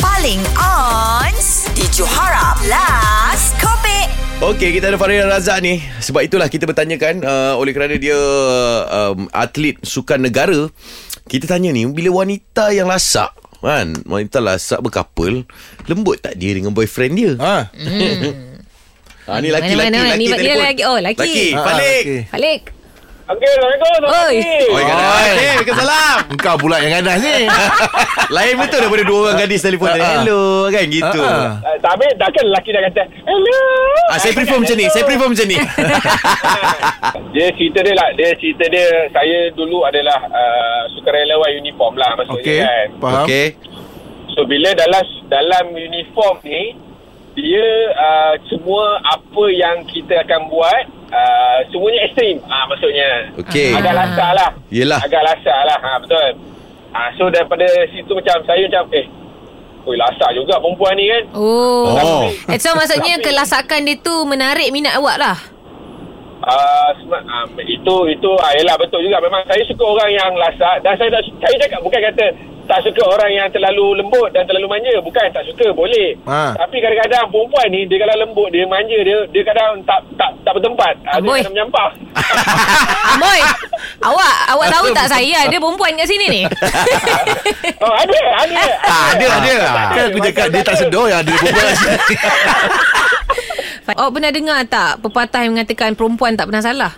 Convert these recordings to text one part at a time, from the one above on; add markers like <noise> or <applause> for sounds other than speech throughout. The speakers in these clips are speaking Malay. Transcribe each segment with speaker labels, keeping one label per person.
Speaker 1: paling on di Johara Plus Kopi.
Speaker 2: Okey, kita ada Faria Razak ni. Sebab itulah kita bertanyakan uh, oleh kerana dia um, atlet sukan negara. Kita tanya ni, bila wanita yang lasak kan wanita lasak berkapal lembut tak dia dengan boyfriend dia ha,
Speaker 3: Ha.
Speaker 2: ni laki laki
Speaker 4: Mana, mana,
Speaker 2: laki
Speaker 4: ni dia
Speaker 2: telefon.
Speaker 4: lagi- oh, laki.
Speaker 2: laki
Speaker 3: Ah,
Speaker 2: balik
Speaker 3: okey.
Speaker 4: Balik.
Speaker 5: Okey, Assalamualaikum. Selamat
Speaker 4: Oi.
Speaker 5: pagi.
Speaker 2: oi kadang eh kesalam
Speaker 3: Engkau pula yang ganas ni.
Speaker 2: <laughs> lain betul daripada dua orang gadis telefon tadi
Speaker 3: Ah.
Speaker 2: hello kan gitu
Speaker 3: Ah.
Speaker 5: Eh, tak ambil, dah kan lelaki dah kata, Hello.
Speaker 3: ha.
Speaker 2: ah saya prefer macam ni saya prefer macam ni
Speaker 5: Ah. Dia cerita dia lah. Dia cerita dia, saya dulu adalah uh, sukarelawan uniform lah maksudnya
Speaker 3: Okey.
Speaker 5: kan.
Speaker 3: Faham?
Speaker 2: Okey.
Speaker 5: So, bila dalam dalam uniform ni, dia uh, semua apa yang kita akan buat, uh, semuanya ekstrim ah maksudnya.
Speaker 2: Okey.
Speaker 5: Agak lasak lah.
Speaker 2: Yelah.
Speaker 5: Agak lasak lah. Ha, betul. Ha, so, daripada situ macam saya macam, eh, Oi, lasak juga perempuan ni kan.
Speaker 4: Oh.
Speaker 2: Oh.
Speaker 4: Eh, so maksudnya kelasakan dia tu menarik minat awak lah.
Speaker 5: Ah, sebab, ah, itu itu ah, yelah betul juga memang saya suka orang yang lasak dan saya tak su- saya cakap bukan kata tak suka orang yang terlalu lembut dan terlalu manja bukan tak suka boleh
Speaker 3: Ha.
Speaker 5: tapi kadang-kadang perempuan ni dia kalau lembut dia manja dia dia kadang tak tak tak bertempat ah,
Speaker 4: Amboi.
Speaker 5: dia kadang menyampah <laughs>
Speaker 4: Amoy. awak awak tahu tak saya ada perempuan kat sini
Speaker 2: <laughs>
Speaker 4: ni?
Speaker 5: oh ada ada
Speaker 3: <laughs> Ah, ada ada. Kan aku
Speaker 5: Macam
Speaker 3: cakap dia
Speaker 5: tak
Speaker 3: tak
Speaker 5: ada.
Speaker 3: sedar ya dia berbual asli.
Speaker 2: <laughs>
Speaker 4: awak pernah dengar tak pepatah yang mengatakan perempuan tak pernah salah?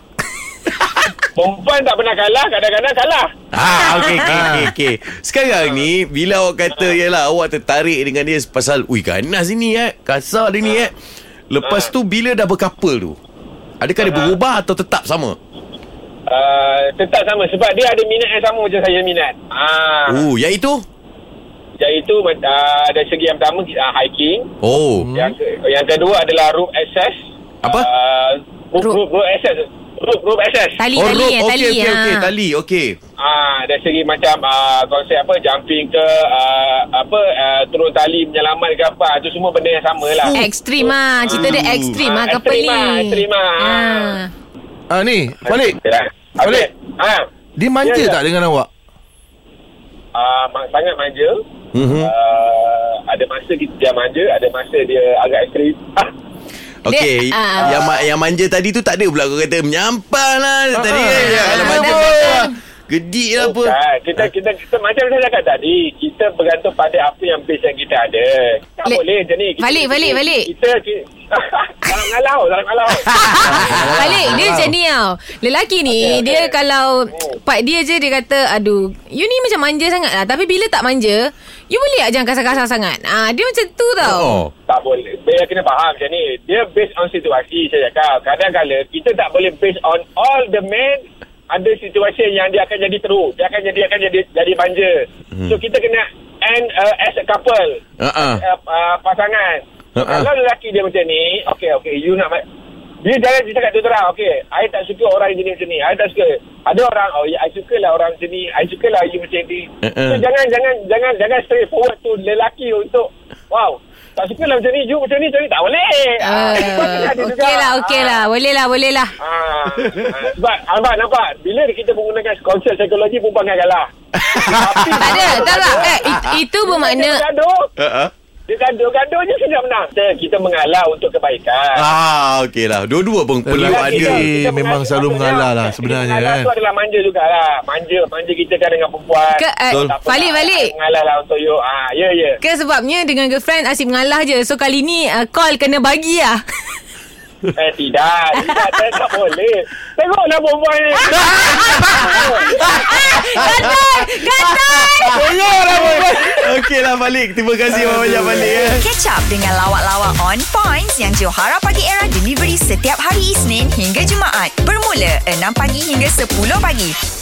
Speaker 5: perempuan tak pernah kalah kadang-kadang kalah
Speaker 2: Ah, okey, okey, okey, okey. Sekarang ni, bila awak kata, ialah awak tertarik dengan dia pasal, ui, ganas ini, eh. Kasar dia ni, eh. Lepas tu, bila dah berkapal tu, adakah dia berubah atau tetap sama?
Speaker 5: Ah, tetap sama sebab dia ada minat yang sama macam saya minat ah
Speaker 2: Oh, yang itu?
Speaker 5: iaitu ah, dari segi yang pertama ah, hiking
Speaker 2: Oh.
Speaker 5: Hmm. Yang ke, yang kedua adalah rope access.
Speaker 2: Apa?
Speaker 5: Uh, rope, rope, rope access. Rope, rope access.
Speaker 4: Tali
Speaker 2: oh, rope.
Speaker 4: tali eh, tali
Speaker 2: Okey, okey,
Speaker 4: ah.
Speaker 2: okey, tali, okey.
Speaker 5: Ah, dari segi macam ah, konsep apa jumping ke ah, apa ah, turun tali menyelamat ke apa itu semua benda yang sama lah.
Speaker 4: Ekstrim ah. Cerita dia
Speaker 2: Ah,
Speaker 4: ekstrim ah,
Speaker 5: ekstrim
Speaker 4: kepeli.
Speaker 5: ah, ekstrim ah.
Speaker 4: Ah.
Speaker 3: Ah ni, balik.
Speaker 5: Yalah.
Speaker 3: Balik.
Speaker 5: Ya. Okey. Ha.
Speaker 3: Dia manja
Speaker 5: Ya, ya.
Speaker 3: tak dengan awak?
Speaker 5: Ah, ma- sangat manja.
Speaker 2: Mhm.
Speaker 5: Ah, ada masa kita dia manja, ada masa dia agak ekstrim. <laughs>
Speaker 2: Okey.
Speaker 4: Dia, ah.
Speaker 2: Yang ma- yang manja tadi tu tak ada pula kau kata menyampah lah tadi
Speaker 3: ah.
Speaker 2: kan. Ya, Kalau
Speaker 4: Ah,
Speaker 2: manja
Speaker 4: betul.
Speaker 2: menyampah. Gedik lah apa.
Speaker 5: Bukan. Kita, kita, kita macam saya cakap tadi, kita bergantung pada apa yang base yang kita ada. Tak
Speaker 4: Balik.
Speaker 5: boleh macam ni. Kita,
Speaker 4: Balik,
Speaker 5: kita,
Speaker 4: balik, balik.
Speaker 5: Kita, <laughs> kita dalam ngalau, dalam ngalau.
Speaker 4: Balik dia macam ni tau Lelaki ni okay, okay.
Speaker 5: Okey, okey.
Speaker 4: Dia kalau Part dia je dia kata Aduh You ni macam manja sangat lah Tapi bila tak manja You boleh tak jangan kasar-kasar sangat ah, Dia macam tu tau
Speaker 2: Oh.
Speaker 5: tak boleh. Dia kena faham macam ni. Dia based on situasi saya cakap. Kadang-kadang kita tak boleh based on all the men ada situasi yang dia akan jadi teruk. Dia akan jadi akan jadi jadi manja. Hmm. So kita kena and uh, as a couple.
Speaker 2: Ah, ah.
Speaker 5: uh, uh, pasangan.
Speaker 2: Ha, ha.
Speaker 5: Kalau lelaki dia macam ni, okay, okay, you nak... ma- Dia jangan dia cakap tu terang, okay, I tak suka orang yang jenis macam ni, I tak suka. Ada orang, oh, yeah, I suka lah orang macam ni, I suka lah you macam ni.
Speaker 2: Ha, ha.
Speaker 5: So, jangan, jangan, jangan, jangan straight forward tu lelaki untuk, wow, tak suka lah macam ni, you macam ni, macam ni, tak boleh. <laughs>
Speaker 4: Ah, Okey lah okey lah Boleh lah boleh lah
Speaker 5: Ah, ah, sebab abang nampak bila kita menggunakan konsep psikologi perempuan akan kalah. Tapi-
Speaker 4: <laughs> Tak ada tak tak eh, it, Itu bermakna
Speaker 5: Dia bergaduh,
Speaker 2: Ah, ah.
Speaker 5: dia gaduh-gaduh je sudah menang. Kita- Kita mengalah untuk kebaikan.
Speaker 2: Ah, okey lah. Dua-dua pun perlu
Speaker 3: Lelaki
Speaker 2: ada.
Speaker 3: dia- memang selalu
Speaker 5: mengalah- maksudnya,
Speaker 3: mengalah lah
Speaker 5: kita
Speaker 3: sebenarnya,
Speaker 5: Mengalah
Speaker 3: kan?
Speaker 5: tu adalah manja jugalah. Manja, manja kita kan dengan perempuan.
Speaker 4: Ke, eh,
Speaker 5: Tak apa
Speaker 4: balik,
Speaker 5: lah.
Speaker 4: balik.
Speaker 5: Mengalah lah untuk you. Ah, ya, ya.
Speaker 4: Ke sebabnya dengan girlfriend asyik mengalah je So kali ni uh, call kena bagi lah
Speaker 5: Eh, tidak. Tidak, saya tak boleh. Tengoklah perempuan ni.
Speaker 3: <laughs>
Speaker 4: Gatai Gatai
Speaker 2: Okey lah balik. Terima kasih banyak-banyak balik. Eh.
Speaker 1: Catch up dengan lawak-lawak on points yang Johara Pagi Era delivery setiap hari Isnin hingga Jumaat bermula 6 pagi hingga 10 pagi.